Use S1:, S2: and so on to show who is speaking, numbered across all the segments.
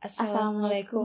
S1: Assalamualaikum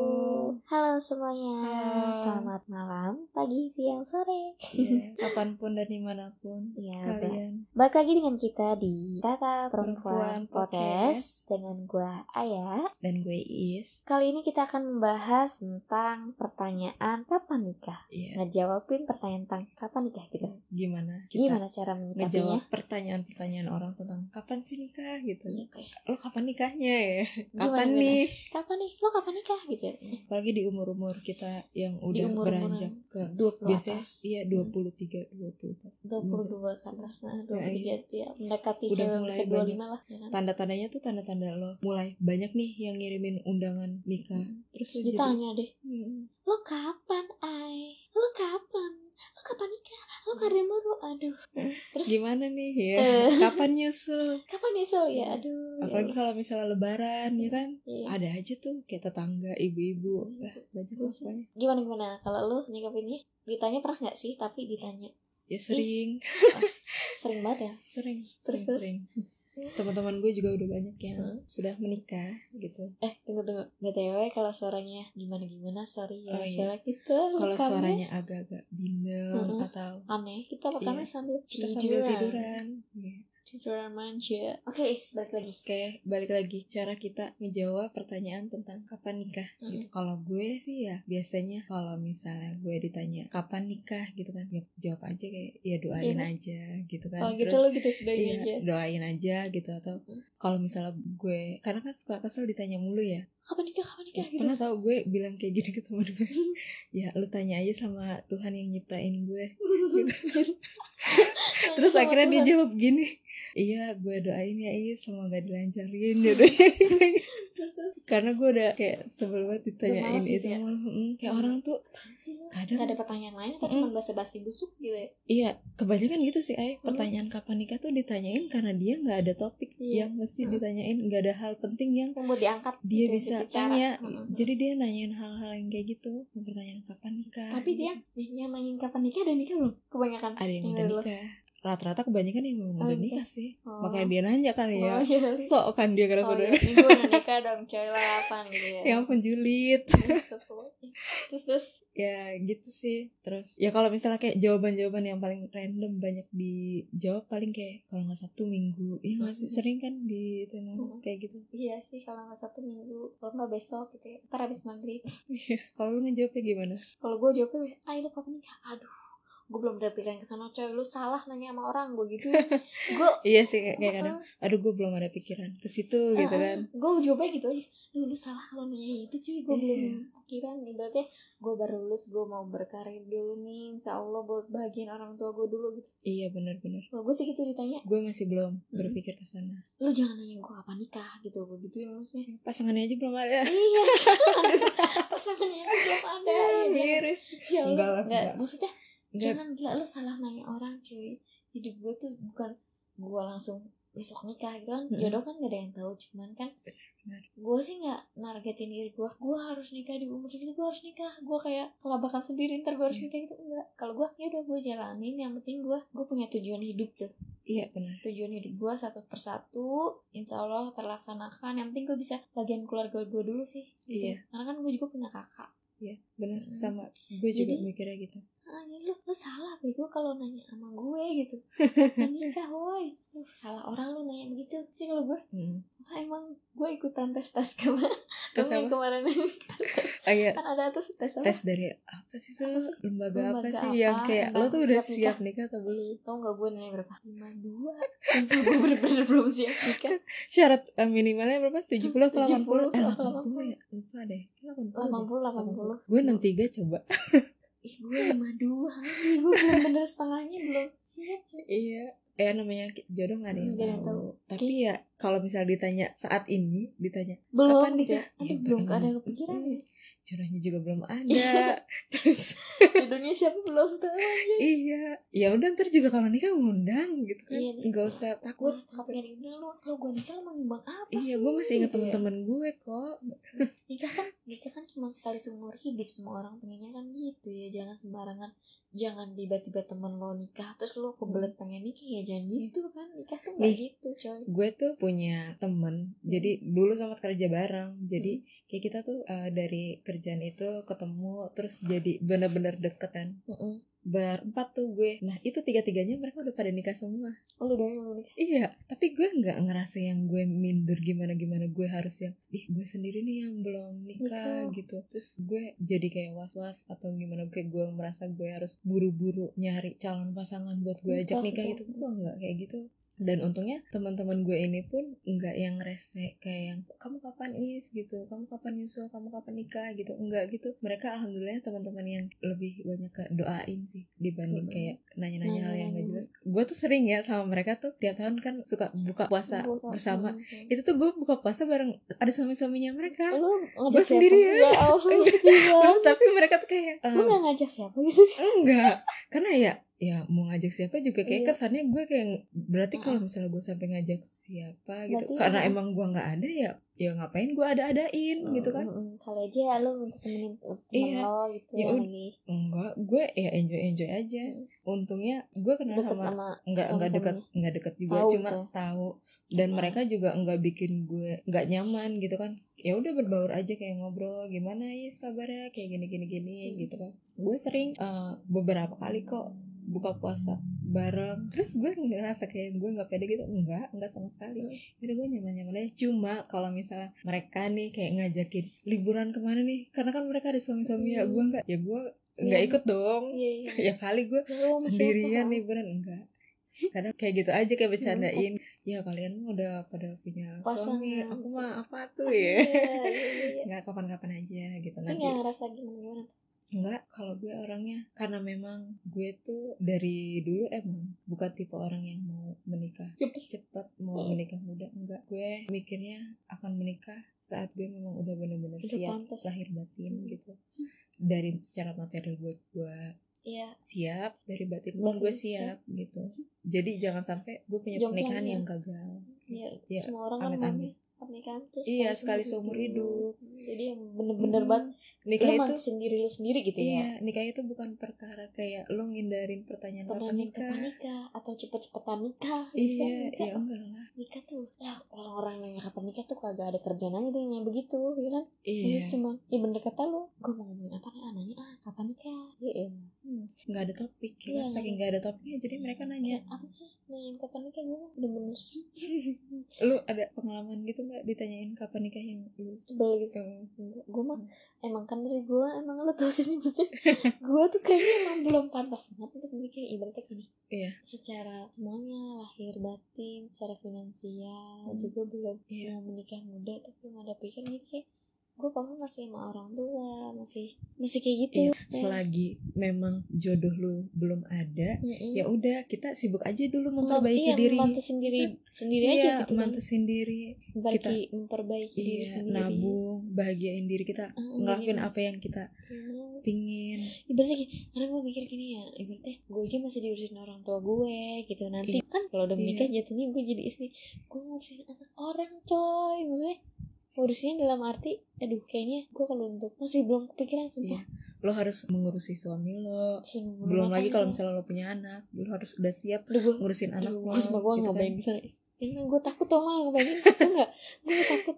S2: Halo semuanya,
S1: Halo.
S2: selamat malam, pagi, siang, sore.
S1: Ya, kapanpun dan dimanapun
S2: Ya, ba-
S1: kalian.
S2: balik lagi dengan kita di Tata
S1: Perempuan
S2: Perempuan
S1: Podcast.
S2: Podcast dengan gua Aya.
S1: Dan gue Is.
S2: Kali ini kita akan membahas tentang pertanyaan kapan nikah.
S1: Iya.
S2: Ngejawabin pertanyaan tentang kapan nikah gitu.
S1: Gimana kita
S2: Gimana cara menyikapinya?
S1: ngejawab pertanyaan-pertanyaan orang tentang kapan sih nikah gitu.
S2: Iya, kayak,
S1: Lo kapan nikahnya ya?
S2: Gimana,
S1: Kapan
S2: gimana?
S1: nih?
S2: Kapan nih? Lo kapan nikah gitu?
S1: Apalagi di umur-umur kita yang udah
S2: umur-umur
S1: beranjak ke
S2: 20
S1: biasanya
S2: atas.
S1: iya 23 24.
S2: 22 ke atas nah 23 tuh ya mendekati
S1: Udah
S2: cewek
S1: mulai
S2: ke 25
S1: banyak.
S2: lah ya kan
S1: Tanda-tandanya tuh tanda-tanda lo mulai banyak nih yang ngirimin undangan nikah.
S2: Hmm.
S1: Terus
S2: Terus
S1: lo jadi-
S2: ditanya deh
S1: Hmm.
S2: lo kapan ay lo kapan lo kapan nikah lo karir mulu aduh terus
S1: Hmm. gimana nih ya
S2: Eh.
S1: kapan nyusul
S2: kapan nyusul ya aduh ya
S1: apalagi
S2: Allah.
S1: kalau misalnya lebaran ya kan
S2: Iya.
S1: ada aja tuh kayak tetangga ibu-ibu lah banyak lah semuanya
S2: gimana gimana kalau lo nyikapinnya ditanya pernah nggak sih tapi ditanya
S1: ya sering
S2: sering banget ya
S1: sering sering
S2: Terus, terus.
S1: sering teman-teman gue juga udah banyak yang
S2: Hmm.
S1: sudah menikah gitu
S2: eh tunggu tunggu btw kalau suaranya gimana gimana sorry
S1: Oh,
S2: ya
S1: iya.
S2: suara kita
S1: kalau
S2: rekamnya
S1: suaranya agak-agak bindeng
S2: Mm-mm.
S1: atau
S2: aneh kita rekamnya sambil
S1: Iya. kita
S2: tiduran
S1: sambil tiduran Iya.
S2: tiduran manja oke Is, balik lagi
S1: Oke, balik lagi cara kita ngejawab pertanyaan tentang kapan nikah gitu. Kalau gue sih ya biasanya kalau misalnya gue ditanya kapan nikah gitu kan, ya jawab aja kayak ya doain
S2: Iya.
S1: aja gitu kan.
S2: kalau gitu
S1: Terus
S2: lo gitu doain
S1: iya,
S2: aja
S1: doain aja gitu atau
S2: Mm.
S1: kalau misalnya gue karena kan suka kesel ditanya mulu ya.
S2: kapan nikah kapan nikah gitu
S1: Pernah tau gue bilang kayak gini ke temen gue. ya lu tanya aja sama Tuhan yang nyiptain gue. Gitu. Terus
S2: Sama
S1: akhirnya dia
S2: Tuhan.
S1: jawab gini. Iya, gue doain ya, iya semoga dilancarin dia doain. Karena gue udah kayak sebel banget
S2: Udah
S1: ditanyain
S2: males gitu
S1: itu
S2: ya?
S1: mulu. Mm, kayak orang tuh
S2: Apaan sih lo?
S1: kadang Mm.
S2: Gak ada pertanyaan lain apa
S1: Mm-mm.
S2: cuma basa-basi busuk gitu ya
S1: iya kebanyakan gitu sih ay
S2: Hmm.
S1: pertanyaan kapan nikah tuh ditanyain karena dia nggak ada topik
S2: Iya.
S1: yang mesti
S2: Mm.
S1: ditanyain nggak ada hal penting yang
S2: yang buat diangkat
S1: dia
S2: gitu,
S1: bisa
S2: bicara.
S1: tanya
S2: Mm-mm.
S1: jadi dia nanyain hal-hal yang kayak gitu pertanyaan kapan nikah
S2: tapi dia yang nanyain kapan nikah udah nikah belum kebanyakan
S1: ada yang
S2: Yang
S1: udah
S2: dari lo.
S1: nikah rata-rata kebanyakan yang memang
S2: Oh,
S1: udah
S2: nikah.
S1: nikah sih
S2: Oh.
S1: makanya dia nanya kali ya
S2: Oh, iya.
S1: sok kan dia karena
S2: Oh,
S1: sudah
S2: iya. ini gue udah nikah dong cewek lah kapan gitu ya
S1: yang penjulit
S2: terus terus
S1: ya gitu sih terus ya kalau misalnya kayak jawaban-jawaban yang paling random banyak dijawab paling kayak kalau nggak sabtu minggu iya nggak sih
S2: Mhm.
S1: sering kan di itu, nah,
S2: Mhm.
S1: kayak gitu
S2: iya sih kalau nggak satu minggu kalau nggak besok gitu ya ntar habis maghrib
S1: kalau lu ngejawabnya gimana
S2: kalau gue jawabnya "Ah, ay lu kapan nikah aduh gue belum ada pikiran ke sana coy lu salah nanya sama orang gue gitu gue
S1: iya sih kayak, kayak kadang aduh gue belum ada pikiran ke situ gitu kan
S2: gue jawabnya gitu aja lu, lu salah kalau nanya itu cuy gue
S1: Iya.
S2: belum pikiran ibaratnya gue baru lulus gue mau berkarir dulu nih insya Allah buat bagian orang tua gue dulu gitu
S1: iya bener-bener
S2: kalau gue sih gitu ditanya
S1: gue masih belum
S2: Mhm.
S1: berpikir ke sana
S2: lu jangan nanya gue kapan nikah gitu gue gituin maksudnya
S1: pasangannya aja belum ada
S2: iya aduh, pasangannya kan belum ada ya, jangan.
S1: Iya, Mirip.
S2: ya Allah,
S1: Enggak lah,
S2: enggak.
S1: enggak.
S2: maksudnya
S1: Enggak.
S2: jangan gila lu salah nanya orang cuy hidup gue tuh bukan gue langsung besok nikah gitu kan
S1: Mm-mm.
S2: jodoh kan gak ada yang tahu cuman kan
S1: Benar.
S2: gue sih nggak nargetin diri gue gue harus nikah di umur segitu gue harus nikah gue kayak kelabakan sendiri ntar gue harus
S1: Iya.
S2: nikah gitu enggak kalau gue ya udah gue jalanin yang penting gue gue punya tujuan hidup tuh
S1: iya bener
S2: tujuan hidup gue satu persatu insya Allah terlaksanakan yang penting gue bisa bagian keluarga gue dulu sih gitu.
S1: Iya.
S2: karena kan gue juga punya kakak
S1: iya bener
S2: Mhm.
S1: sama gue juga
S2: Jadi-
S1: mikirnya gitu
S2: ah ini lu lu salah bego kalau nanya sama gue gitu Kapan nikah woi Lu salah orang lu nanya begitu sih kalau gue
S1: Mhm.
S2: "Wah, emang gue ikutan tes tes kemarin
S1: Tes
S2: Kamu yang
S1: apa?
S2: kemarin
S1: Ah, iya.
S2: kan ada tuh tes apa
S1: tes dari apa sih tuh
S2: Apa sih?
S1: lembaga, apa
S2: Lembaga
S1: sih
S2: apa?
S1: yang kayak lo
S2: Tentang
S1: tuh udah
S2: siap nikah.
S1: siap nikah atau belum
S2: tau gak gue nilai berapa lima dua sumpah gue bener-bener belum siap nikah
S1: syarat eh, minimalnya berapa 70 puluh
S2: 70
S1: 80 eh,
S2: atau
S1: 80 ya lupa deh Kayaknya
S2: 80
S1: 80
S2: delapan
S1: deh.
S2: puluh
S1: 80 gue 63 coba
S2: ih gue lima dua lagi gue bener-bener setengahnya belum siap cuy
S1: iya eh namanya ki- jodoh gak ada yang
S2: Hmm, Nggak ada yang
S1: tahu tapi ya kalau misal ditanya saat ini ditanya
S2: belum
S1: kapan nikah Iya.
S2: ya? Aduh, belum
S1: Kapan?
S2: ada kepikiran ya
S1: jodohnya juga belum ada terus
S2: jodohnya siapa belum tahu aja
S1: iya ya udah ntar juga kalau nikah ngundang gitu kan
S2: Iya,
S1: nggak usah
S2: gue
S1: takut
S2: tetap nyari udah lu kalau gue nikah lu mau nyumbang apa
S1: iya
S2: sih
S1: gue masih inget
S2: Gitu ya.
S1: temen-temen gue kok
S2: nikah kan nikah kan cuma sekali seumur hidup semua orang pengennya kan gitu ya jangan sembarangan jangan tiba-tiba temen lo nikah terus lo kebelet pengen nikah ya jangan gitu kan nikah tuh nggak
S1: Hmm. Iya. Nih.
S2: gitu coy
S1: gue tuh punya temen jadi dulu sempat kerja bareng jadi kayak kita tuh eh, dari kerjaan itu ketemu terus jadi bener-bener deket kan
S2: Mm-mm.
S1: berempat tuh gue nah itu tiga-tiganya mereka udah pada nikah semua
S2: Oh, lu doang yang belum nikah
S1: Iya, tapi gue nggak ngerasa yang gue minder gimana-gimana gue harus yang ih gue sendiri nih yang belum nikah
S2: Nikah.
S1: gitu. Terus gue jadi kayak was-was atau gimana kayak gue merasa gue harus buru-buru nyari calon pasangan buat gue ajak
S2: Betul,
S1: nikah
S2: betul.
S1: gitu. Gue nggak kayak gitu. Dan untungnya teman-teman gue ini pun nggak yang rese kayak yang kamu kapan is gitu, kamu kapan nyusul, kamu kapan nikah gitu. Enggak gitu. Mereka alhamdulillah teman-teman yang lebih banyak ke doain sih dibanding
S2: Mm-mm.
S1: kayak nanya-nanya hal yang nggak
S2: Nanya-nanya.
S1: jelas gue tuh sering ya sama mereka tuh tiap tahun kan suka buka puasa
S2: Gua sama-
S1: bersama
S2: Mm-mm.
S1: itu tuh gue buka puasa bareng ada suami-suaminya mereka
S2: lu
S1: Iya.
S2: ngajak
S1: Gua Iya.
S2: siapa?
S1: sendirian.
S2: ya Allah gila
S1: tapi mereka tuh kayak
S2: lu
S1: ehm,
S2: nggak ngajak siapa gitu
S1: enggak karena ya ya mau ngajak siapa juga kayak
S2: Iya.
S1: kesannya gue kayak berarti
S2: Mm-mm.
S1: kalau misalnya gue sampai ngajak siapa gitu
S2: Berarti
S1: karena
S2: iya.
S1: emang gue nggak ada ya ya ngapain gue ada-adain gitu kan
S2: Mm-mm. kali aja lu minta temenin temen
S1: Iya.
S2: lo gitu
S1: Ya
S2: yang
S1: ud-
S2: lagi
S1: enggak gue ya enjoy enjoy aja
S2: Mm.
S1: untungnya gue kenal
S2: deket
S1: sama
S2: sama
S1: nggak nggak dekat
S2: suami-suaminya.
S1: nggak dekat juga
S2: Tahu
S1: cuma
S2: gitu.
S1: tahu dan
S2: Hmm.
S1: mereka juga nggak bikin gue nggak nyaman gitu kan ya udah berbaur aja kayak ngobrol gimana is kabarnya kayak gini gini gini
S2: Hmm.
S1: gitu kan gue sering eh, beberapa kali kok buka puasa bareng terus gue ngerasa kayak gue nggak pede gitu enggak enggak sama sekali Ya
S2: Hmm.
S1: udah gue nyaman nyaman aja cuma kalau misalnya mereka nih kayak ngajakin liburan kemana nih karena kan mereka ada suami suami ya
S2: Hmm.
S1: gue nggak ya gue nggak
S2: Iya.
S1: ikut dong
S2: iya iya
S1: ya kali gue
S2: Lu sama siapa,
S1: sendirian
S2: kan?
S1: liburan enggak kadang kayak gitu aja
S2: Iya,
S1: kayak bercandain ya kalian mah udah pada punya suami
S2: Pasangan.
S1: aku mah apa tuh
S2: Iya,
S1: ya
S2: iya, iya, iya.
S1: nggak kapan-kapan aja gitu
S2: Lu
S1: nanti
S2: nggak ngerasa gimana gimana
S1: enggak kalau gue orangnya karena memang gue tuh dari dulu emang bukan tipe orang yang mau menikah cepat mau
S2: Hmm.
S1: menikah muda enggak gue mikirnya akan menikah saat gue memang udah bener-bener
S2: Udah
S1: siap
S2: pantas.
S1: lahir batin
S2: Hmm.
S1: gitu dari secara materi buat gue
S2: Iya,
S1: siap dari batin
S2: Batin
S1: pun gue
S2: siap.
S1: siap gitu jadi jangan sampai gue punya
S2: Jomplang
S1: pernikahan
S2: ya.
S1: yang gagal
S2: iya.
S1: Iya,
S2: Semua orang kan
S1: amit-amit.
S2: maunya pernikahan tuh
S1: Iya, sekali seumur hidup.
S2: Hmm, Jadi yang bener-bener banget
S1: Hmm. nikah
S2: lu
S1: itu
S2: itu sendiri lu sendiri gitu
S1: iya
S2: ya.
S1: nikah itu bukan perkara kayak lo ngindarin pertanyaan kapan
S2: Pernah nikah,
S1: nikah
S2: kapan nikah atau cepet-cepetan nikah. gitu kan,
S1: iya
S2: nikah.
S1: iya enggak lah
S2: nikah tuh lah orang-orang yang kapan nikah tuh kagak ada kerjaan aja deh yang begitu ya kan
S1: iya
S2: Maksudnya cuma ya bener kata lu gue mau ngomongin apa nih anaknya ah kapan nikah ya elah.
S1: Hmm, nggak ada topik ya
S2: Iya.
S1: saking nggak ada topiknya jadi mereka
S2: Kayak,
S1: nanya
S2: apa sih nanyain kapan nikah gue bener-bener
S1: lu ada pengalaman gitu nggak ditanyain kapan nikah yang lu
S2: sebel gitu
S1: Eh,
S2: gue mah
S1: Hmm.
S2: emang kan dari gue emang lu tau sendiri gue tuh kayaknya emang belum pantas banget untuk menikah ibaratnya gini
S1: Iya.
S2: secara semuanya lahir batin secara finansial
S1: Hmm.
S2: juga belum
S1: Iya.
S2: mau menikah muda tapi belum ada pikiran ini kayak gue pengen masih sama orang tua masih masih kayak gitu
S1: Iya, selagi memang jodoh lu belum ada ya udah kita sibuk aja dulu memperbaiki diri
S2: mantesin diri iya, sendiri aja
S1: iya
S2: gitu kan.
S1: mantesin diri
S2: Memperbaiki-
S1: kita-
S2: memperbaiki diri
S1: Iya,
S2: sendiri
S1: nabung, bahagiain diri kita,
S2: Ah,
S1: ngelakuin
S2: bener.
S1: apa yang kita
S2: Iya.
S1: pingin.
S2: ibaratnya gini, karena gue mikir gini ya ibaratnya gue aja masih diurusin orang tua gue gitu
S1: Iya.
S2: nanti kan kalau udah menikah jatuhnya gue jadi istri gue ngurusin anak orang coy maksudnya ngurusinnya dalam arti aduh kayaknya gue kalau untuk masih belum kepikiran sumpah
S1: Lo harus mengurusi suami lo.
S2: Terus rumah
S1: Iya. Belum lagi
S2: tangga.
S1: kalau misalnya lo punya anak, lo harus udah siap
S2: aduh gue
S1: ngurusin anak
S2: aduh
S1: lo.
S2: gue sumpah gue
S1: gitu
S2: nggak
S1: kan.
S2: bayangin kesana karena gue takut tau malah ngebayangin gue nggak gue takut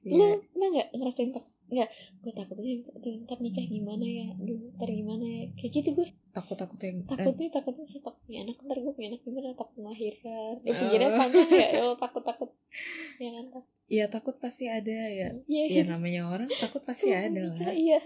S1: Iya.
S2: lu pernah nggak ngerasain tak nggak gue takut sih aduh, ntar nikah gimana ya aduh ntar gimana ya kayak gitu gue
S1: Takut-takut yang eh,
S2: takutnya takutnya sih takut punya anak ntar gue punya anak gimana takut melahirkan ya
S1: Oh.
S2: pikirannya panjang ya ya Allah, takut takut ya kan takut
S1: Iya, takut pasti ada ya.
S2: iya
S1: Ya namanya orang takut pasti ada
S2: Iya,
S1: lah.
S2: iya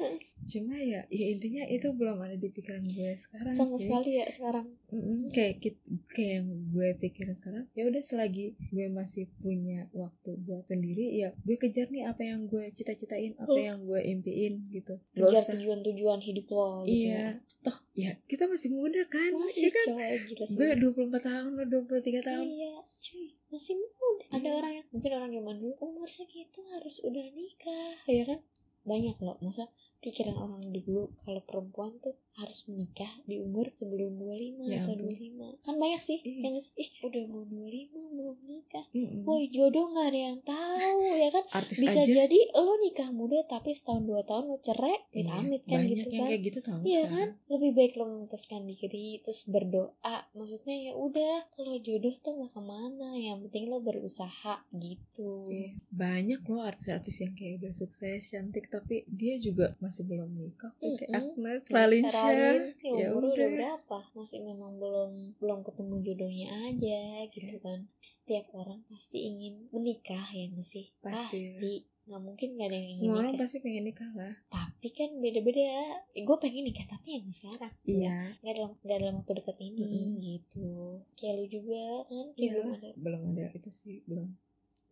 S1: Cuma ya, ya intinya itu belum ada di pikiran gue sekarang
S2: sama
S1: sih.
S2: sekali ya sekarang
S1: Mm-mm, kayak kit- kayak yang gue pikirin sekarang ya udah selagi gue masih punya waktu buat sendiri ya gue kejar nih apa yang gue cita-citain apa
S2: Oh.
S1: yang gue impiin gitu Gak
S2: kejar
S1: usah
S2: tujuan-tujuan hidup lo gitu
S1: iya toh ya kita masih muda kan
S2: ya.
S1: Iya
S2: masih
S1: kan
S2: coy gila sih
S1: gue 24 tahun lo 23 tahun
S2: iya cuy masih muda ada
S1: Iya.
S2: orang yang mungkin orang zaman dulu umur segitu harus udah nikah ya kan Iya banyak loh masa pikiran orang dulu kalau perempuan tuh harus menikah di umur sebelum 25
S1: Ya
S2: atau
S1: ampun.
S2: 25 kan banyak sih
S1: Iya. Hmm.
S2: yang ih udah mau 25 belum nikah
S1: Mm-mm.
S2: woi jodoh nggak ada yang tahu ya kan
S1: artis
S2: bisa
S1: aja
S2: jadi lo nikah muda tapi setahun dua tahun lo cerai
S1: Iya,
S2: amit-amit kan
S1: banyak
S2: gitu
S1: yang
S2: kan
S1: kayak gitu tau
S2: Iya
S1: sekarang.
S2: lebih baik lo memutuskan diri terus berdoa maksudnya ya udah kalau jodoh tuh nggak kemana yang penting lo berusaha gitu
S1: Iya. banyak loh artis-artis yang kayak udah sukses cantik tapi dia juga masih belum nikah
S2: Mm-mm.
S1: kayak Agnes Ralinsyah
S2: Raline, ya
S1: ya
S2: umur udah
S1: udah.
S2: berapa masih memang belum belum ketemu jodohnya aja gitu kan setiap orang pasti ingin menikah ya nggak sih
S1: Pasti.
S2: pasti nggak mungkin gak ada yang ingin
S1: semua orang
S2: nikah
S1: pasti pengen nikah lah
S2: tapi kan beda-beda gue pengen nikah tapi yang sekarang
S1: iya
S2: nggak dalam nggak dalam waktu dekat ini
S1: Mm-mm.
S2: gitu kayak lu juga kan kayak
S1: Iya.
S2: belum ada
S1: belum ada itu sih belum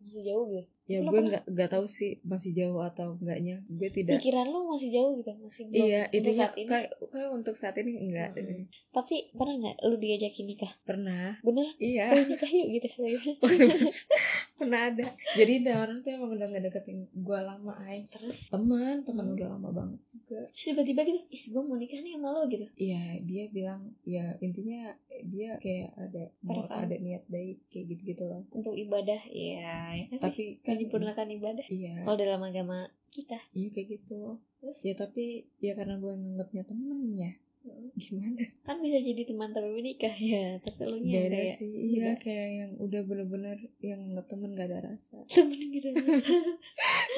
S2: masih jauh gitu
S1: ya gue
S2: Belum pernah.
S1: nggak nggak tahu sih masih jauh atau enggaknya gue tidak
S2: pikiran lu masih jauh gitu masih belum
S1: iya
S2: untuk
S1: intinya
S2: saat ini
S1: kayak kayak untuk saat ini enggak
S2: Mm-mm. tapi pernah nggak lu diajakin nikah
S1: pernah
S2: bener
S1: iya
S2: ayo nikah yuk gitu
S1: pernah ada jadi ada orang tuh emang udah nggak deketin gue lama ay
S2: Nah, terus
S1: teman teman
S2: Hmm.
S1: udah lama banget juga
S2: terus tiba-tiba gitu is gue mau nikah nih sama lo gitu
S1: iya dia bilang ya intinya dia kayak ada mau
S2: Perasaan.
S1: ada niat baik kayak gitu gitu loh
S2: untuk ibadah ya ya kan
S1: tapi
S2: kan
S1: kan
S2: menyempurnakan ibadah
S1: iya
S2: kalau dalam agama kita
S1: iya kayak gitu
S2: terus
S1: ya tapi ya karena gue nganggapnya temen ya
S2: Mm.
S1: gimana
S2: kan bisa jadi teman tapi menikah ya tapi lu nya
S1: beda
S2: kayak
S1: sih iya
S2: beda.
S1: kayak yang udah bener-bener yang nganggap temen gak ada rasa
S2: temen gitu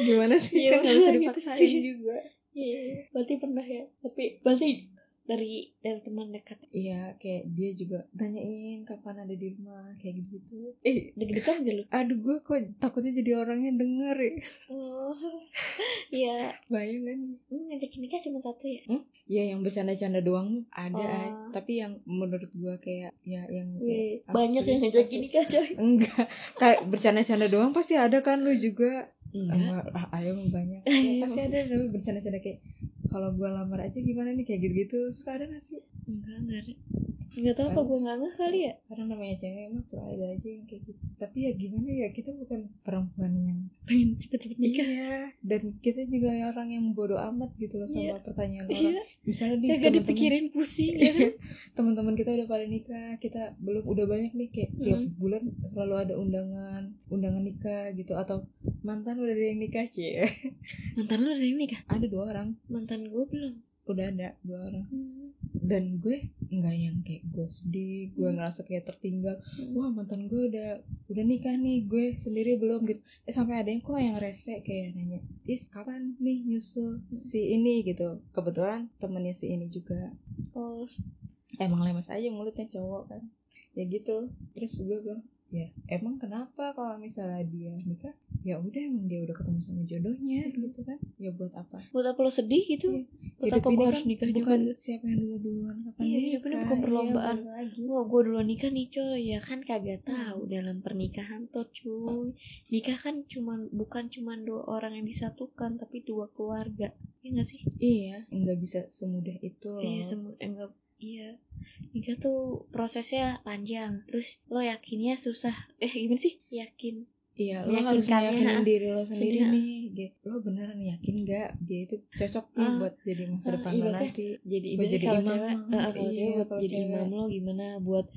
S1: gimana sih
S2: Iya,
S1: kan gak bisa
S2: gitu.
S1: dipaksain juga
S2: Iya, iya. berarti pernah ya. Tapi berarti dari dari teman dekat
S1: iya kayak dia juga tanyain kapan ada di rumah kayak gitu gitu eh
S2: deg-degan gak lu?
S1: aduh gue kok takutnya jadi orangnya denger ya kan?
S2: Oh, iya.
S1: bayangan
S2: Hmm, ngajakin nikah cuma satu ya.
S1: ya yang bercanda-canda doang ada
S2: Oh.
S1: Ay. tapi yang menurut gue kayak ya yang
S2: Wih,
S1: Aku
S2: banyak yang
S1: serius,
S2: ngajakin
S1: aku-
S2: nikah coy.
S1: enggak kayak bercanda-canda doang pasti ada kan lu juga
S2: Enggak.
S1: Sama- ah, ayo emang banyak
S2: Ayo.
S1: pasti ada tapi bercanda-canda kayak kalau gue lamar aja gimana nih kayak gitu-gitu suka ada gak sih
S2: Enggak, enggak. ada. Enggak tahu apa gue enggak ngeh kali ya.
S1: karena namanya cewek emang suka ada aja yang kayak gitu tapi ya gimana ya kita bukan perempuan yang pengen
S2: Cepet-cepet
S1: iya dan kita juga orang yang bodoh amat gitu loh sama pertanyaan orang
S2: Iya,
S1: misalnya nih
S2: kagak
S1: teman-teman-
S2: dipikirin pusing ya kan.
S1: Iya. teman-teman kita udah pada nikah kita belum udah banyak nih kayak tiap
S2: Mm.
S1: bulan selalu ada undangan undangan nikah gitu atau mantan udah ada yang nikah cie
S2: Mantan lu udah nikah?
S1: ada dua orang
S2: Mantan gue belum.
S1: udah ada dua orang dan gue nggak yang kayak gue sedih gue
S2: Hmm.
S1: ngerasa kayak tertinggal
S2: Hmm.
S1: wah mantan gue udah udah nikah nih gue sendiri belum gitu eh, sampai ada yang kok yang rese kayak nanya is kapan nih nyusul
S2: Hmm.
S1: si ini gitu kebetulan temennya si ini juga
S2: Oh,
S1: emang lemes aja mulutnya cowok kan ya gitu terus gue bilang ya emang kenapa kalau misalnya dia nikah ya udah emang dia udah ketemu sama jodohnya
S2: Hmm.
S1: gitu kan ya buat apa
S2: buat apa lo sedih gitu? Buat
S1: Hidup
S2: apa
S1: ini
S2: gue
S1: kan
S2: harus nikah juga?
S1: bukan siapa yang dulu duluan kapan
S2: Iya,
S1: nikah
S2: hidup ini bukan
S1: Iya,
S2: perlombaan.
S1: bener lagi
S2: Wah, gue duluan nikah nih coy ya kan kagak tahu dalam pernikahan tuh cuy nikah kan cuman bukan cuman dua orang yang disatukan tapi dua keluarga ya nggak sih
S1: iya nggak bisa semudah itu loh
S2: iya semua enggak iya nikah tuh prosesnya panjang terus lo yakinnya susah eh gimana sih yakin
S1: iya lo harus
S2: meyakinkannya,
S1: meyakinin
S2: ah.
S1: diri lo sendiri
S2: Sendiri, ah.
S1: nih Gitu. lo beneran yakin nggak dia itu cocok nih
S2: Ah.
S1: buat jadi masa
S2: Ah,
S1: depan lo
S2: ibaratnya
S1: nanti
S2: jadi
S1: Buat
S2: ibaratnya
S1: jadi
S2: kalau
S1: imam.
S2: cewek eh, kalau
S1: Iya,
S2: cewek buat
S1: kalau
S2: jadi
S1: cewek.
S2: imam lo gimana buat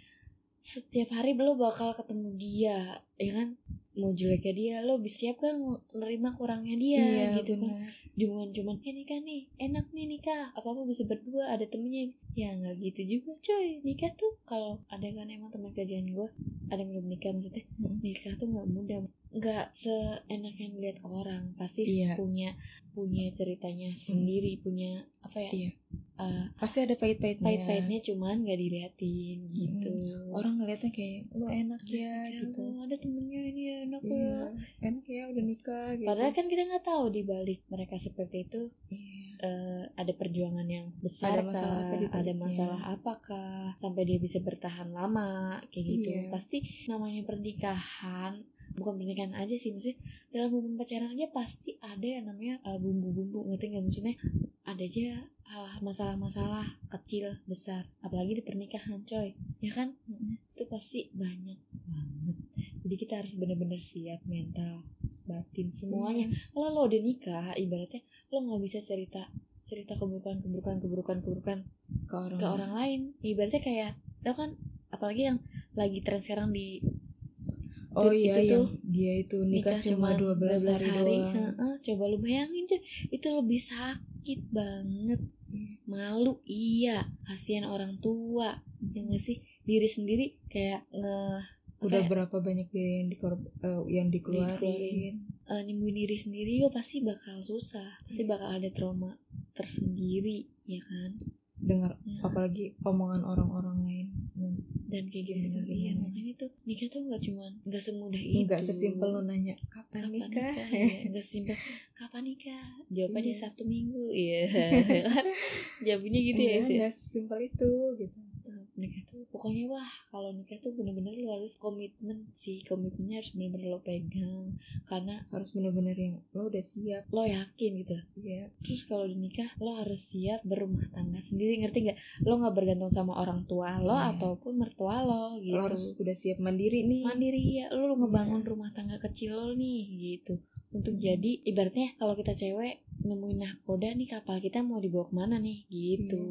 S2: setiap hari lo bakal ketemu dia ya kan mau jeleknya dia lo bisa siap kan nerima kurangnya dia
S1: iya
S2: gitu kan
S1: bener.
S2: jangan cuman eh nikah nih enak nih nikah apa apa bisa berdua ada temennya ya nggak gitu juga coy nikah tuh kalau ada kan emang teman kerjaan gue ada yang belum nikah maksudnya
S1: Mm.
S2: nikah tuh nggak mudah nggak seenak yang lihat orang pasti
S1: Iya. Hmm.
S2: punya punya ceritanya sendiri punya apa ya
S1: Iya.
S2: eh,
S1: pasti ada pahit-pahitnya
S2: pahit-pahitnya cuman nggak diliatin gitu
S1: Hmm. orang ngeliatnya kayak lo enak ya
S2: Ya,
S1: gitu
S2: Allah, ada temennya ini enak
S1: iya
S2: ya
S1: enak ya udah nikah gitu
S2: padahal kan kita nggak tahu di balik mereka seperti itu
S1: iya
S2: eh, ada perjuangan yang
S1: Ada
S2: besar
S1: masalah apa gitu ya? Iya.
S2: kah?
S1: di
S2: ada
S1: baliknya?
S2: masalah apakah sampai dia bisa bertahan lama kayak gitu
S1: Iya.
S2: pasti namanya pernikahan bukan pernikahan aja sih maksudnya dalam hubungan pacaran aja pasti ada yang namanya eh, bumbu-bumbu ngerti nggak maksudnya ada aja eh, masalah-masalah kecil besar apalagi di pernikahan coy ya kan
S1: Mm-mm.
S2: itu pasti banyak banget jadi kita harus benar-benar siap mental batin semuanya kalau lo udah nikah ibaratnya lo nggak bisa cerita cerita keburukan keburukan keburukan keburukan
S1: ke orang,
S2: ke orang lain Ya, ibaratnya kayak tau kan apalagi yang lagi tren sekarang di
S1: oh
S2: itu-
S1: iya
S2: itu
S1: yang
S2: tuh
S1: dia itu nikah, cuma 12, hari, doang
S2: Heeh, coba lu bayangin cuy itu lebih sakit banget
S1: Hmm.
S2: malu iya kasihan orang tua ya nggak sih diri sendiri kayak nge apa
S1: udah
S2: ya,
S1: berapa banyak biaya yang, dikor- eh, yang
S2: Dikeluarin.
S1: dikeluarin
S2: eh, nyembuhin diri sendiri juga pasti bakal susah pasti
S1: Hmm.
S2: bakal ada trauma tersendiri ya kan
S1: dengar
S2: Ya.
S1: apalagi omongan orang-orang lain
S2: dan kayak gitu
S1: Gimana,
S2: tuh iya
S1: gimana?
S2: makanya tuh nikah tuh nggak cuman nggak semudah itu
S1: nggak sesimpel lo nanya Gitu. kapan,
S2: kapan
S1: nikah,
S2: nikah Iya, nggak sesimpel kapan nikah jawabannya
S1: Iya.
S2: sabtu minggu iya kan jawabannya gitu ya
S1: Enggak,
S2: sih
S1: Iya nggak sesimpel itu gitu
S2: nikah tuh pokoknya wah kalau nikah tuh bener-bener lo harus komitmen sih komitmennya harus bener-bener lo pegang karena
S1: harus bener-bener yang lo udah siap
S2: lo yakin gitu
S1: ya
S2: terus kalau udah nikah lo harus siap berumah tangga sendiri ngerti nggak lo nggak bergantung sama orang tua lo
S1: Iya.
S2: ataupun mertua lo gitu
S1: lo harus udah siap mandiri nih
S2: mandiri ya lu ngebangun
S1: Iya.
S2: rumah tangga kecil lo nih gitu
S1: Hmm.
S2: untuk jadi ibaratnya kalau kita cewek nemuin nahkoda nih kapal kita mau dibawa kemana nih gitu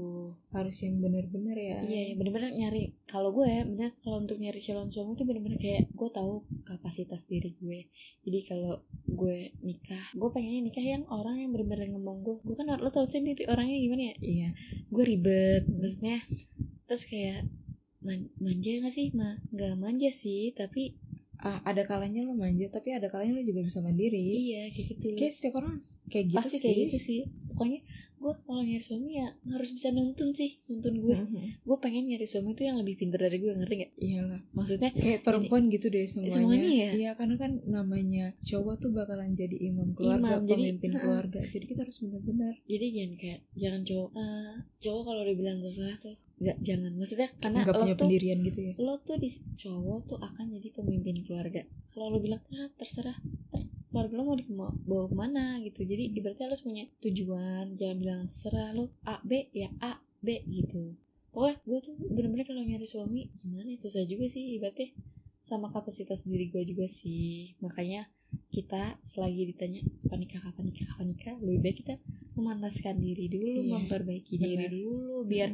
S1: harus yang bener-bener ya
S2: iya ya bener-bener nyari kalau gue ya bener kalau untuk nyari calon suami tuh bener-bener kayak gue tahu kapasitas diri gue jadi kalau gue nikah gue pengennya nikah yang orang yang bener-bener ngomong gue gue kan lo tau sendiri orangnya gimana ya
S1: iya
S2: gue ribet maksudnya terus kayak man- manja gak sih ma nggak manja sih tapi
S1: Ah, ada kalanya lo manja tapi ada kalanya lo juga bisa mandiri
S2: Iya kayak gitu.
S1: kayak setiap orang kayak gitu
S2: Pasti
S1: sih
S2: kayak gitu sih. Pokoknya gue kalau nyari suami ya harus bisa nuntun sih, nuntun gue.
S1: Mhm.
S2: Gue pengen nyari suami tuh yang lebih pinter dari gue ngerti gak?
S1: iyalah
S2: Maksudnya
S1: kayak perempuan gitu deh semuanya,
S2: semuanya ya?
S1: iya karena kan namanya cowok tuh bakalan jadi imam keluarga
S2: Imam, jadi-
S1: pemimpin
S2: Heeh.
S1: keluarga jadi kita harus bener-bener
S2: jadi jangan kayak jangan cowok. eh, cowok kalau udah bilang gue salah tuh nggak jangan. Maksudnya karena
S1: nggak
S2: lo
S1: punya
S2: tuh
S1: pendirian gitu ya
S2: lo tuh di cowok tuh akan jadi pemimpin keluarga. Kalau lo bilang ah terserah ter- keluarga lo mau dibawa kemana gitu jadi ibaratnya lo harus punya tujuan jangan bilang terserah lo A B ya A B gitu pokoknya gue tuh bener-bener kalau nyari suami gimana ya, susah juga sih ibaratnya sama kapasitas diri gue juga sih makanya kita selagi ditanya kapan nikah kapan nikah kapan nikah lebih baik kita memantaskan diri dulu
S1: Iya,
S2: memperbaiki diri
S1: benar.
S2: dulu
S1: Mhm.
S2: biar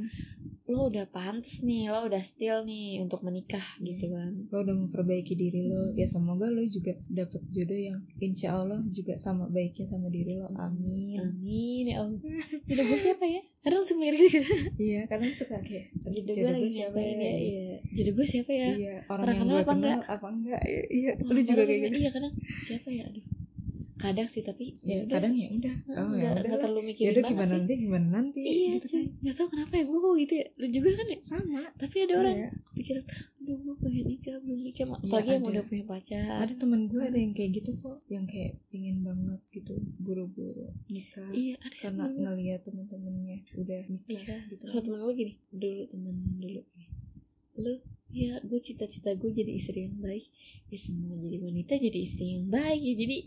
S2: lo udah pantas nih lo udah still nih untuk menikah gitu kan
S1: lo udah memperbaiki diri lo ya semoga lo juga dapet jodoh yang insya Allah juga sama baiknya sama diri lo amin
S2: amin ya allah jodoh gue siapa ya karena langsung mikir gitu
S1: iya kadang suka kayak
S2: jodoh gue lagi ngapain ya iya jodoh gue siapa ya
S1: iya orang,
S2: Orang
S1: yang
S2: kenal
S1: gue
S2: apa
S1: kenal
S2: enggak?
S1: apa enggak Ya, iya
S2: Wah,
S1: lo juga
S2: kadang-
S1: kayak gitu
S2: iya kadang siapa ya aduh kadang sih tapi
S1: ya
S2: yaudah.
S1: kadang ya udah
S2: Heeh,
S1: oh ya
S2: nggak nggak
S1: udah
S2: terlalu
S1: ya
S2: mikirin
S1: udah
S2: banget
S1: gimana
S2: sih.
S1: nanti gimana nanti
S2: iya
S1: gitu
S2: cuy
S1: kan
S2: nggak tahu kenapa ya gue kok gitu ya lu juga kan ya
S1: sama
S2: tapi ada orang
S1: Iya.
S2: kepikiran aduh gue pengen nikah belum nikah
S1: Iya,
S2: apalagi yang
S1: ada.
S2: udah punya pacar
S1: ada teman gue ada yang kayak gitu kok yang kayak pingin banget gitu buru-buru nikah
S2: iya ada
S1: karena
S2: temen gue.
S1: ngeliat temen-temennya udah nikah
S2: Nikah.
S1: gitu
S2: kalau temen gue gini dulu temen dulu gini lu ya gue cita-cita gue jadi istri yang baik ya semua jadi wanita jadi istri yang baik ya jadi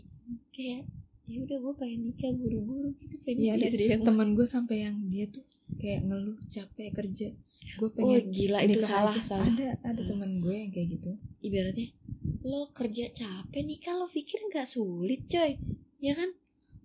S2: kayak ya udah gue pengen nikah buru-buru gitu pengen
S1: Iya,
S2: jadi
S1: ada
S2: istri yang baik
S1: teman gue sampai yang dia tuh kayak ngeluh capek kerja gue
S2: oh
S1: pengen
S2: gila itu
S1: nikah
S2: salah
S1: aja.
S2: salah Hmm.
S1: ada ada
S2: Salah.
S1: teman gue yang kayak gitu
S2: ibaratnya lo kerja capek nikah lo pikir nggak sulit coy ya kan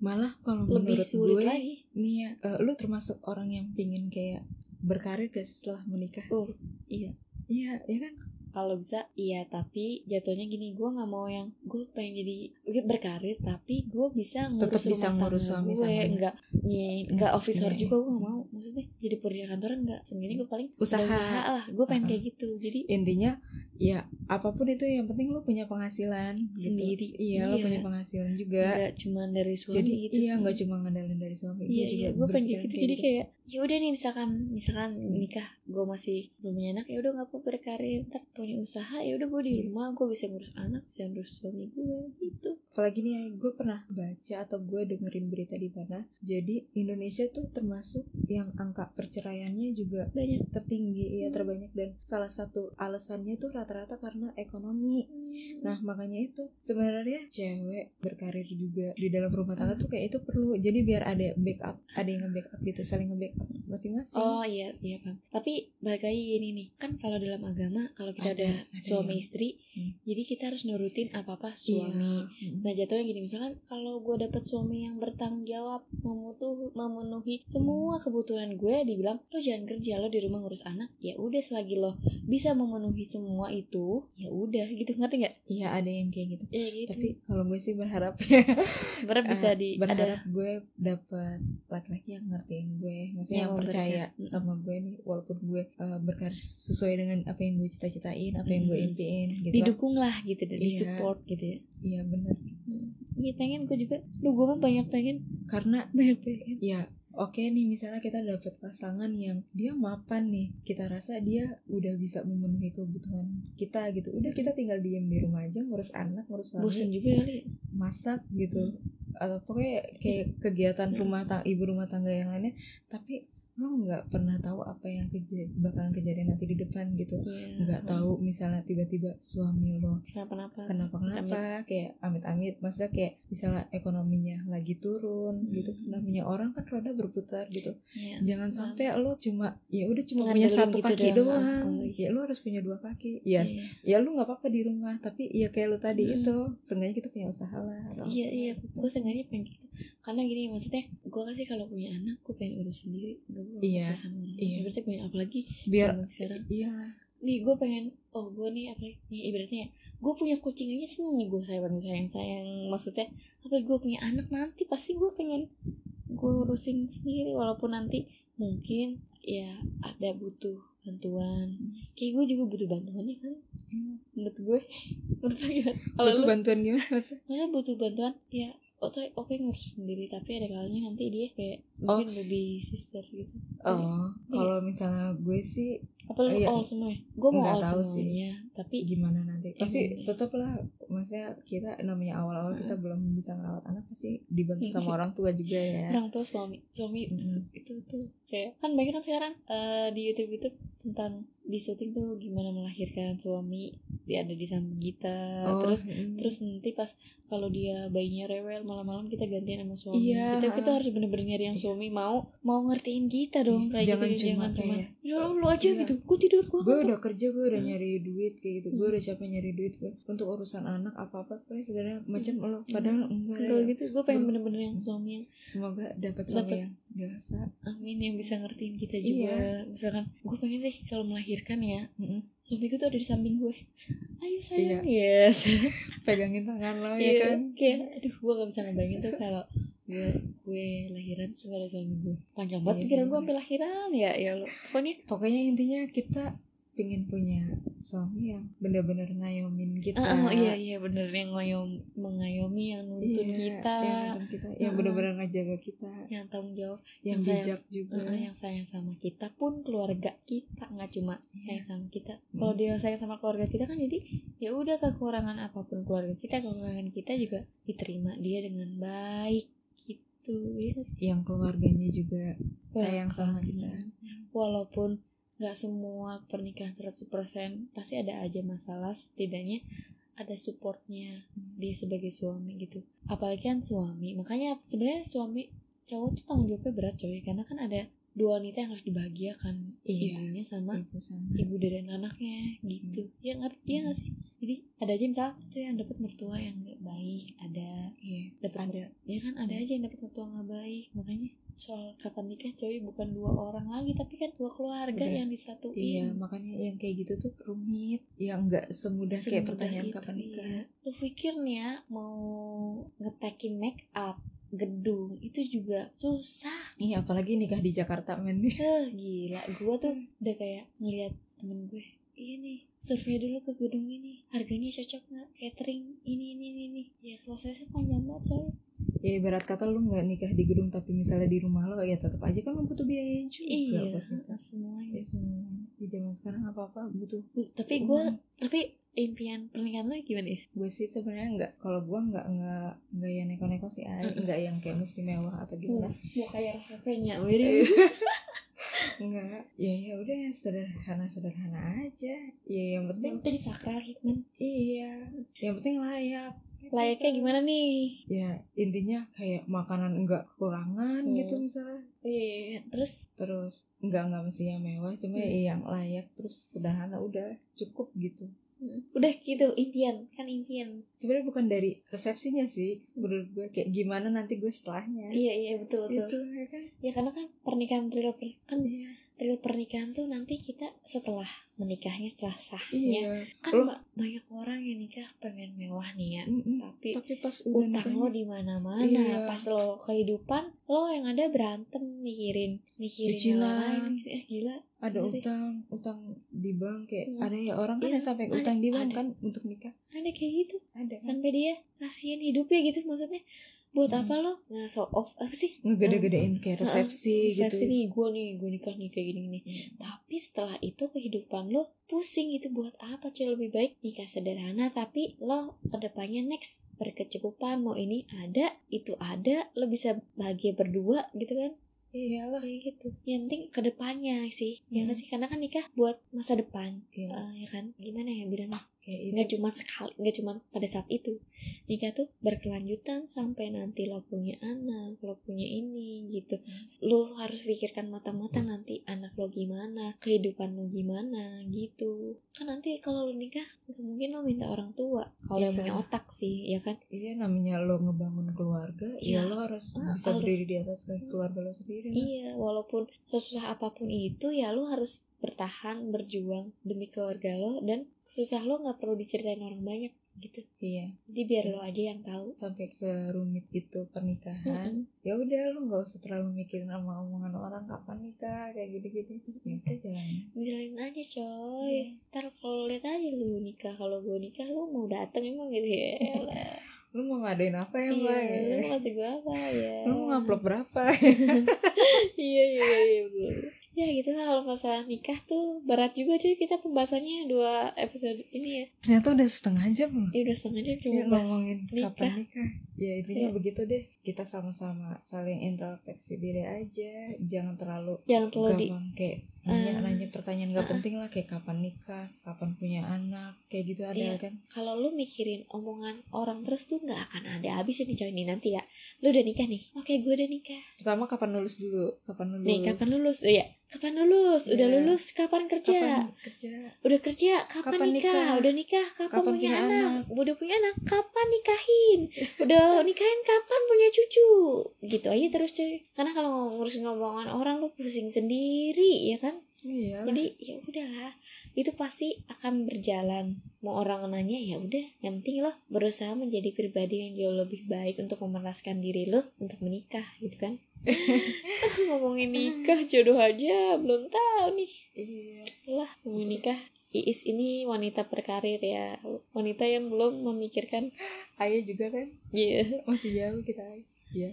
S1: malah kalau
S2: lebih
S1: menurut
S2: sulit
S1: gue
S2: lagi
S1: nih ya eh, lu termasuk orang yang pingin kayak berkarir gak sih setelah menikah
S2: oh iya
S1: iya iya kan
S2: kalau bisa iya tapi jatuhnya gini gue nggak mau yang gue pengen jadi gue berkarir tapi gue bisa ngurus
S1: Tetap bisa
S2: rumah
S1: ngurus
S2: tangga
S1: suami
S2: gue
S1: sama anak.
S2: nggak nye- nggak office hour
S1: Iya,
S2: juga gue nggak mau maksudnya jadi pekerja kantoran nggak sendiri gue paling ada
S1: Usaha.
S2: lah gue pengen
S1: Uh-uh.
S2: kayak gitu jadi
S1: intinya ya apapun itu yang penting lu punya penghasilan gitu.
S2: Sendiri.
S1: iya, lu
S2: Iya.
S1: punya penghasilan juga
S2: nggak cuma dari suami
S1: jadi
S2: gitu
S1: iya nggak cuma ngandelin dari suami
S2: Iya
S1: juga
S2: iya gue pengen kayak
S1: berpikiran
S2: gitu jadi kayak ya udah nih misalkan misalkan nikah gue masih belum punya anak ya udah nggak apa berkarir ntar punya usaha ya udah gue di
S1: Iya.
S2: rumah gue bisa ngurus anak bisa ngurus suami gue gitu
S1: apalagi nih ya, gue pernah baca atau gue dengerin berita di mana jadi Indonesia tuh termasuk yang angka perceraiannya juga
S2: banyak
S1: tertinggi ya
S2: Hmm.
S1: terbanyak dan salah satu alasannya tuh rata-rata karena ekonomi
S2: Hmm,
S1: Nah makanya itu sebenarnya cewek berkarir juga di dalam rumah tangga tuh kayak itu perlu. Jadi biar ada backup, ada yang nge-backup gitu, saling nge-backup masing-masing.
S2: Oh iya iya paham. Tapi balik lagi gini nih, kan kalau dalam agama kalau kita
S1: Ada,
S2: ada,
S1: ada
S2: suami
S1: yang-
S2: istri,
S1: Hmm.
S2: jadi kita harus nurutin apa apa
S1: Iya.
S2: suami.
S1: Mm.
S2: Nah jatuhnya gini misalkan kalau gue dapet suami yang bertanggung jawab memutuh memenuhi semua kebutuhan gue dibilang lo jangan kerja lo di rumah ngurus anak ya udah selagi lo bisa memenuhi semua itu ya udah gitu ngerti nggak?
S1: Iya ada yang kayak gitu.
S2: Ya gitu.
S1: Tapi kalau gue sih berharap ya
S2: Berharap bisa
S1: eh,
S2: di ada
S1: berharap gue dapet laki-laki yang ngertiin gue, maksudnya
S2: Yang
S1: yang
S2: mau
S1: percaya
S2: berkat. Mm.
S1: sama gue nih, walaupun gue eh, berkarir sesuai dengan apa yang gue cita-citain, apa yang gue
S2: Mm.
S1: impiin, gitu.
S2: didukung lah gitu dan
S1: Iya.
S2: di support gitu ya.
S1: Iya bener.
S2: Iya pengen gue juga. Lu gue mah banyak pengen
S1: Karena
S2: banyak pengen.
S1: ya oke nih misalnya kita dapet pasangan yang dia mapan nih kita rasa dia udah bisa memenuhi kebutuhan kita gitu udah kita tinggal diem di rumah aja ngurus anak ngurus suami
S2: Bosan juga kali. ya.
S1: masak gitu atau pokoknya kayak kegiatan
S2: Hmm.
S1: rumah tangga ibu rumah tangga yang lainnya tapi lo nggak pernah tahu apa yang kejadian bakalan kejadian nanti di depan gitu
S2: Iya.
S1: nggak tahu misalnya tiba-tiba suami lo
S2: kenapa-napa.
S1: kenapa-kenapa kayak amit-amit maksudnya kayak misalnya ekonominya lagi turun
S2: Hmm.
S1: gitu namanya orang kan roda berputar gitu
S2: Iya.
S1: jangan
S2: Paham.
S1: sampai lo cuma ya udah cuma
S2: Ngandelin
S1: punya satu
S2: gitu
S1: kaki
S2: doang.
S1: doang,
S2: Oh, iya.
S1: ya lo harus punya dua kaki ya
S2: Iya.
S1: ya lo nggak apa-apa di rumah tapi ya kayak lo tadi
S2: Hmm.
S1: itu seenggaknya kita punya usaha lah atau
S2: Iya
S1: apa
S2: iya,
S1: gitu.
S2: gue sengaja pengen gitu. Karena gini maksudnya, gue kasih kalau punya anak, gue pengen urus sendiri, gue gak
S1: Iya,
S2: usah sama orang.
S1: iya.
S2: Berarti pengen apalagi
S1: biar
S2: zaman sekarang.
S1: iya
S2: Nih gue pengen, oh gue nih apalagi, nih ibaratnya ya, gue punya kucing aja seneng nih gue sayang sayang sayang. Maksudnya, apalagi gue punya anak nanti pasti gue pengen gue urusin sendiri walaupun nanti mungkin ya ada butuh bantuan.
S1: Hmm.
S2: Kayak gue juga butuh bantuannya kan, menurut gue. menurut gue gimana? Kalau
S1: butuh
S2: lu-
S1: bantuan gimana maksudnya
S2: Masa butuh bantuan ya oke oke ngurus sendiri tapi ada kalanya nanti dia kayak
S1: Oh.
S2: mungkin lebih sister gitu
S1: oh kalau misalnya gue sih
S2: apa lu
S1: Iya.
S2: all semua gue mau
S1: Nggak
S2: all
S1: tahu sih.
S2: semuanya tapi
S1: gimana nanti pasti
S2: Emang.
S1: tetap lah maksudnya kita namanya awal-awal kita belum bisa ngerawat anak pasti dibantu sama orang tua juga ya
S2: orang tua suami suami itu,
S1: Mm.
S2: itu tuh kayak kan banyak kan sekarang eh, di YouTube YouTube tentang di syuting tuh gimana melahirkan suami dia ada di samping kita terus
S1: mm.
S2: terus nanti pas kalau dia bayinya rewel malam-malam kita gantian sama suami
S1: Iya,
S2: kita kita
S1: ah.
S2: harus bener-bener nyari yang
S1: Iya.
S2: suami mau mau ngertiin kita dong kayak
S1: Jangan
S2: gitu
S1: cuma
S2: jangan cuma
S1: kayak,
S2: ya lu aja
S1: iya.
S2: gitu gue tidur gue
S1: gue udah kerja gue udah
S2: Hmm.
S1: nyari duit kayak gitu gue udah capek nyari duit gue untuk urusan anak apa apa pokoknya segala macam lo padahal Mm. enggak,
S2: kalau
S1: ya.
S2: gitu gue pengen
S1: Ber-
S2: bener-bener yang suami yang
S1: semoga dapat suami
S2: Dapet.
S1: yang dewasa
S2: amin yang bisa ngertiin kita
S1: Iya.
S2: juga misalkan gue pengen deh kalau melahirkan ya
S1: Mm-mm.
S2: suamiku tuh ada di samping gue ayo sayang yes
S1: pegangin tangan lo ya
S2: Iya
S1: Iya. kan
S2: kayak aduh gue gak bisa ngebayangin tuh kalau gue gue lahiran terus gak ada suami gue panjang banget
S1: Iya,
S2: pikiran gue
S1: bener.
S2: sampai lahiran ya ya lo pokoknya
S1: pokoknya intinya kita pengen punya suami yang bener-bener ngayomin kita
S2: Ah, ah, iya iya bener yang ngoyom mengayomi yang nuntun
S1: Iya,
S2: kita
S1: yang nuntun kita yang
S2: Ah.
S1: bener-bener ngejaga kita
S2: yang tanggung jawab
S1: yang
S2: Yang sayang.
S1: bijak juga
S2: ah, ah, yang sayang sama kita pun keluarga kita nggak cuma sayang sama kita
S1: Hmm.
S2: kalau dia sayang sama keluarga kita kan jadi ya udah kekurangan apapun keluarga kita kekurangan kita juga diterima dia dengan baik gitu ya nggak sih?
S1: yang keluarganya juga
S2: Wah,
S1: sayang sama
S2: keluarga.
S1: kita
S2: walaupun nggak semua pernikahan 100% pasti ada aja masalah setidaknya ada supportnya
S1: Hmm.
S2: dia sebagai suami gitu apalagi kan suami makanya sebenarnya suami cowok tuh tanggung jawabnya berat coy karena kan ada dua wanita yang harus dibahagiakan
S1: Iya.
S2: ibunya sama
S1: Ibu sama
S2: ibu dan anaknya gitu
S1: Hmm.
S2: ya nggak iya nggak sih jadi ada aja misalnya tuh yang dapat mertua yang nggak baik ada
S1: iya
S2: dapat
S1: ada
S2: ya kan ada aja yang dapat mertua nggak baik makanya soal kapan nikah coy bukan dua orang lagi tapi kan dua keluarga
S1: Udah.
S2: yang disatuin
S1: Iya, makanya yang kayak gitu tuh rumit, yang nggak semudah, kayak
S2: Semudah
S1: pertanyaan
S2: itu,
S1: kapan nikah.
S2: iya. lu pikir nih ya mau ngetekin make up gedung itu juga susah
S1: Iya, apalagi nikah di Jakarta men.
S2: eh gila gua tuh udah kayak ngeliat temen gue iya nih survei dulu ke gedung ini harganya cocok nggak catering ini ini ini, ini. ya prosesnya panjang banget coy
S1: ya ibarat kata lu nggak nikah di gedung tapi misalnya di rumah lo ya tetap aja kan lu butuh biaya juga.
S2: iya
S1: pas nikah.
S2: semuanya
S1: Ya, semuanya. Di zaman sekarang apa-apa butuh.
S2: Bu, tapi gue tapi impian pernikahan lo gimana is
S1: gue sih sebenarnya nggak kalau gue nggak nggak nggak yang neko-neko sih ay.
S2: Mm-mm.
S1: Iya.
S2: Iya,
S1: nggak yang kayak mesti mewah atau gimana
S2: mau kayak Rahafenya
S1: Iya. enggak ya ya udah yang sederhana sederhana aja ya yang penting
S2: yang penting sakral hikmah
S1: iya yang penting layak Gitu
S2: Mm. layaknya
S1: kan.
S2: gimana nih
S1: ya intinya kayak makanan enggak kekurangan
S2: Hmm.
S1: gitu misalnya
S2: iya terus
S1: terus enggak enggak mesti yang mewah cuma ya
S2: Hmm.
S1: yang layak terus sederhana udah cukup gitu
S2: udah gitu impian kan impian
S1: sebenarnya bukan dari resepsinya sih menurut gue kayak gimana nanti gue setelahnya
S2: iya iya betul betul
S1: itu ya kan
S2: ya karena kan pernikahan real per- kan
S1: iya
S2: real pernikahan tuh nanti kita setelah menikahnya setelah sahnya
S1: iya
S2: kan
S1: Lo-
S2: ba- banyak orang yang nikah pengen mewah nih ya
S1: Mm-mm.
S2: tapi
S1: tapi pas udah
S2: utang
S1: nikahnya,
S2: lo di mana mana
S1: Iya.
S2: pas lo kehidupan lo yang ada berantem mikirin mikirin
S1: Cicilan.
S2: yang lain Eh, gila
S1: ada
S2: Ngerti.
S1: utang utang di bank kayak
S2: Iya.
S1: ada ya orang kan
S2: Iya,
S1: yang sampai
S2: ada,
S1: utang di bank
S2: ada.
S1: kan untuk nikah
S2: ada kayak gitu
S1: ada kan
S2: sampai dia kasihan hidupnya gitu maksudnya buat
S1: Hmm.
S2: apa lo nggak show off apa sih
S1: ngegede-gedein kayak
S2: Heeh,
S1: resepsi,
S2: resepsi
S1: gitu
S2: nih gue nih gue nikah nih kayak gini nih tapi setelah itu kehidupan lo pusing itu buat apa cuy lebih baik nikah sederhana tapi lo kedepannya next berkecukupan mau ini ada itu ada lo bisa bahagia berdua gitu kan
S1: iyalah
S2: kayak gitu yang penting kedepannya sih ya
S1: Hmm.
S2: kan sih karena kan nikah buat masa depan
S1: Iya,
S2: Eh, ya kan gimana ya bilangnya
S1: kayak itu
S2: nggak cuma sekali nggak cuma pada saat itu nikah tuh berkelanjutan sampai nanti lo punya anak lo punya ini gitu lo harus pikirkan matang-matang nanti anak lo gimana kehidupan lo gimana gitu kan nanti kalau lo nikah nggak mungkin lo minta orang tua kalau yang
S1: Iya.
S2: punya otak sih ya kan
S1: iya namanya lo ngebangun keluarga ya
S2: Iya.
S1: lo harus
S2: Ah,
S1: bisa
S2: harus.
S1: berdiri di atas kaki keluarga lo sendiri lah.
S2: iya walaupun sesusah apapun itu ya lo harus bertahan berjuang demi keluarga lo dan susah lo nggak perlu diceritain orang banyak gitu
S1: iya
S2: jadi biar lo aja yang tahu
S1: sampai serumit itu pernikahan ya udah lo nggak usah terlalu mikirin sama omongan orang kapan nikah kayak gini-gini ya udah jalan
S2: jalanin aja coy
S1: Iya.
S2: ntar kalau lihat aja lu nikah kalau gue nikah lu mau dateng emang gitu ya
S1: Iya,
S2: elah.
S1: lu mau ngadain apa ya
S2: iya
S1: Mbak?
S2: lu mau kasih gue apa ya
S1: lu mau ngupload berapa
S2: iya iya iya bener. ya gitu lah kalau masalah nikah tuh berat juga cuy kita pembahasannya dua episode ini ya
S1: ternyata udah setengah jam loh.
S2: ini Iya, udah setengah jam cuma
S1: Ya,
S2: bahas
S1: ngomongin
S2: nikah.
S1: kapan nikah ya intinya
S2: Iya.
S1: begitu deh kita sama-sama saling introspeksi diri aja jangan terlalu
S2: jangan terlalu di
S1: gampang kayak nanya
S2: Ah.
S1: nanya pertanyaan nggak
S2: Ah-ah.
S1: penting lah kayak kapan nikah kapan punya anak kayak gitu ada
S2: Iya.
S1: kan
S2: kalau lu mikirin omongan orang terus tuh nggak akan ada habisnya nih coy nih nanti ya lu udah nikah nih oke gue udah nikah
S1: pertama kapan lulus dulu kapan lulus
S2: nih kapan lulus Oh, iya kapan lulus udah
S1: Iya.
S2: lulus kapan kerja
S1: Kapan kerja
S2: udah kerja kapan,
S1: Kapan
S2: nikah?
S1: nikah?
S2: udah nikah kapan,
S1: Kapan
S2: punya,
S1: punya
S2: anak? udah punya anak kapan nikahin udah nikahin kapan punya cucu gitu aja terus cuy karena kalau ngurusin ngomongan orang lu pusing sendiri ya kan
S1: iya
S2: jadi ya udah itu pasti akan berjalan mau orang nanya ya udah yang penting lo berusaha menjadi pribadi yang jauh lebih baik untuk memeraskan diri lo untuk menikah gitu kan ngomongin nikah jodoh aja belum tahu nih
S1: iya
S2: lah mau nikah Iis ini wanita berkarir ya wanita yang belum memikirkan
S1: ayah juga kan
S2: Iya
S1: masih jauh kita ayah
S2: ya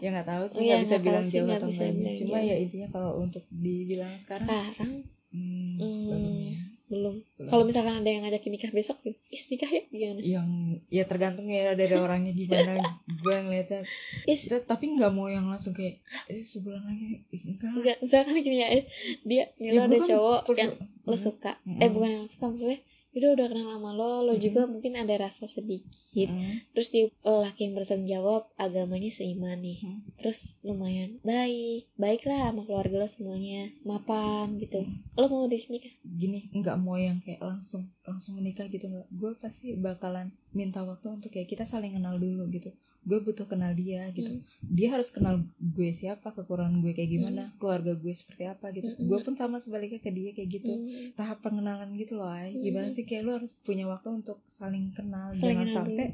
S1: ya nggak tahu
S2: Oh,
S1: sih
S2: iya,
S1: nggak bisa
S2: nggak tahu
S1: bilang
S2: sih,
S1: jauh
S2: nggak
S1: atau
S2: bisa
S1: enggaknya
S2: bilang
S1: cuma
S2: jauh.
S1: ya intinya kalau untuk dibilang sekarang
S2: sekarang
S1: hmm,
S2: Hmm.
S1: belum ya.
S2: belum
S1: Belum.
S2: kalau misalkan ada yang ngajakin nikah besok ya Is nikah ya gimana
S1: yang ya tergantung ya dari orangnya gimana gue ngeliatnya
S2: Is
S1: Kita- tapi nggak mau yang langsung kayak eh, sebulan lagi Ih, enggak lah.
S2: enggak misalkan gini ya Is dia
S1: Ya,
S2: nih lo
S1: gua
S2: ada
S1: kan
S2: cowok
S1: perlu-
S2: yang lo
S1: Mm,
S2: suka
S1: Mm-mm.
S2: eh bukan yang lo suka maksudnya udah udah kenal sama lo lo
S1: Mm-mm.
S2: juga mungkin ada rasa sedikit
S1: mm,
S2: terus dia laki yang bertanggung jawab agamanya seiman nih
S1: Hmm.
S2: terus lumayan baik baiklah sama keluarga lo semuanya mapan gitu lo mau di sini kah?
S1: gini nggak mau yang kayak langsung langsung menikah gitu nggak gue pasti bakalan minta waktu untuk kayak kita saling kenal dulu gitu gue butuh kenal dia gitu
S2: Mm.
S1: dia harus kenal gue siapa kekurangan gue kayak
S2: Hmm.
S1: gimana keluarga gue seperti apa gitu
S2: Mm-mm.
S1: gue pun sama sebaliknya ke dia kayak gitu
S2: Hmm.
S1: tahap pengenalan gitu loh ay
S2: Mm.
S1: gimana sih kayak lu harus punya waktu untuk saling kenal
S2: Saling
S1: jangan
S2: kenal dulu.
S1: sampai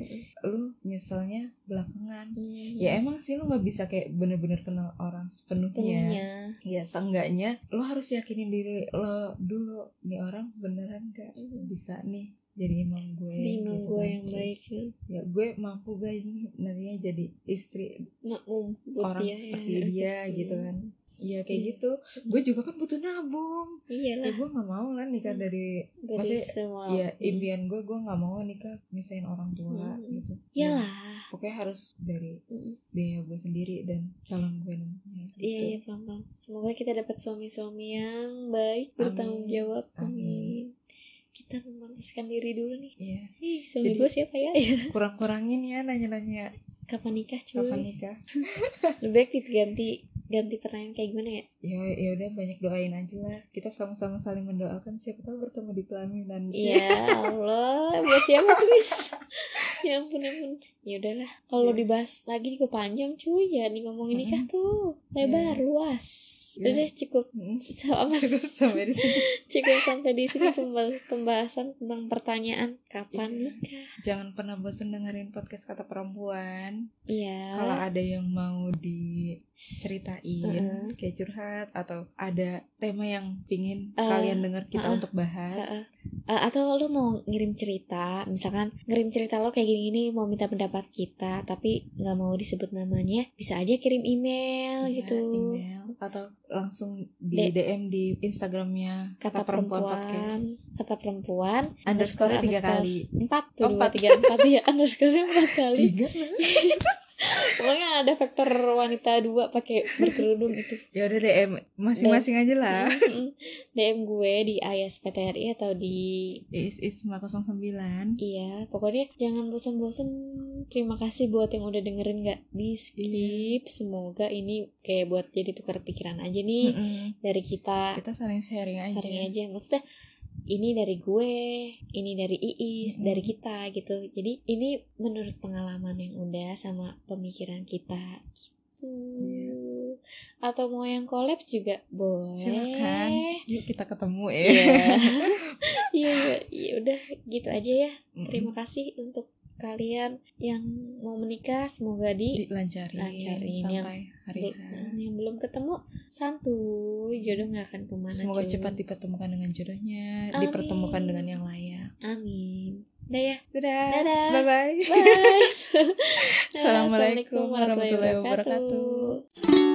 S1: lu nyeselnya belakangan
S2: Hmm.
S1: ya emang sih lu nggak bisa kayak bener-bener kenal orang sepenuhnya
S2: Punya.
S1: ya seenggaknya lu harus yakinin diri lo dulu nih orang beneran gak bisa nih jadi imam gue
S2: Bimbing
S1: gitu
S2: gue
S1: kan.
S2: Iya. yang
S1: Terus,
S2: baik ya.
S1: ya gue mampu gak ini nantinya jadi istri
S2: Makmum buat
S1: orang
S2: dia,
S1: seperti
S2: ya.
S1: dia gitu kan ya kayak
S2: Iya.
S1: gitu gue juga kan butuh nabung
S2: Iya
S1: ya
S2: lah
S1: gue nggak mau lah nikah
S2: Hmm.
S1: dari
S2: dari
S1: maksudnya,
S2: semua.
S1: ya impian gue gue nggak mau nikah nyusahin orang tua
S2: Hmm.
S1: gitu
S2: Iya
S1: Ya,
S2: lah.
S1: pokoknya harus dari
S2: Mm.
S1: biaya gue sendiri dan calon gue nantinya gitu.
S2: Iya iya paham paham. Semoga kita dapat suami-suami yang baik bertanggung jawab. Amin. Kita memanaskan diri dulu nih.
S1: Iya.
S2: Ih, suami
S1: Jadi-
S2: gue siapa ya?
S1: Iya. kurang-kurangin ya nanya-nanya
S2: Kapan nikah cuy?
S1: kapan nikah
S2: Lebih baik diganti ganti pertanyaan kayak gimana ya?
S1: ya ya udah banyak doain aja lah kita sama-sama saling mendoakan siapa tahu bertemu di pelaminan cuy.
S2: Ya Allah, buat siapa Chris? ya ampun ya ampun. Ya udahlah, kalau
S1: Ya.
S2: dibahas lagi juga panjang cuy. Ya nih ngomongin nikah tuh lebar
S1: Iya.
S2: luas.
S1: Ya.
S2: Udah deh, cukup.
S1: Mm.
S2: Sama
S1: cukup sampai di sini
S2: Cukup sampai di sini pembahas- pembahasan tentang pertanyaan kapan
S1: Iya.
S2: nikah.
S1: jangan pernah bosan dengerin podcast kata perempuan
S2: Iya.
S1: kalau ada yang mau diceritain
S2: Mm-mm.
S1: kayak curhat atau ada tema yang pingin
S2: Eh,
S1: kalian denger kita
S2: uh-uh.
S1: untuk bahas
S2: Uh-uh. Eh, atau lo mau ngirim cerita, misalkan ngirim cerita lo kayak gini-gini mau minta pendapat kita, tapi nggak mau disebut namanya, bisa aja kirim email
S1: Ya,
S2: gitu.
S1: email atau langsung di DM di Instagramnya
S2: Kata, perempuan, kata perempuan,
S1: underscore tiga
S2: underscore.
S1: kali
S2: empat tuh
S1: Oh,
S2: dua
S1: empat.
S2: tiga empat ya underscore empat kali.
S1: tiga
S2: Pokoknya ada faktor wanita dua pakai berkerudung itu.
S1: ya udah DM masing-masing aja lah
S2: Mm-mm. DM gue di ASPTRI atau di
S1: Is Isma 09
S2: Iya, pokoknya jangan bosan-bosan. Terima kasih buat yang udah dengerin nggak di
S1: Iya.
S2: skip. Semoga ini kayak buat jadi tukar pikiran aja nih
S1: Mm-mm.
S2: dari kita
S1: kita saling sharing aja
S2: saring aja. Maksudnya ini dari gue, ini dari Iis,
S1: Mm-mm.
S2: dari kita gitu. Jadi ini menurut pengalaman yang udah sama pemikiran kita gitu.
S1: Iya.
S2: Atau mau yang collab juga boleh.
S1: Silakan. yuk kita ketemu ya
S2: Iya. Iya, iya, iya, udah gitu aja ya. Terima kasih untuk kalian yang mau menikah. Semoga di
S1: dilancarin
S2: Lancarin
S1: sampai hari
S2: di-
S1: H
S2: yang belum ketemu santuy jodoh nggak akan kemana.
S1: semoga
S2: cuy.
S1: cepat dipertemukan dengan jodohnya
S2: Amin.
S1: dipertemukan dengan yang layak
S2: Amin. Udah ya.
S1: dadah,
S2: Dadah.
S1: bye bye
S2: Bye.
S1: Assalamualaikum warahmatullahi wabarakatuh.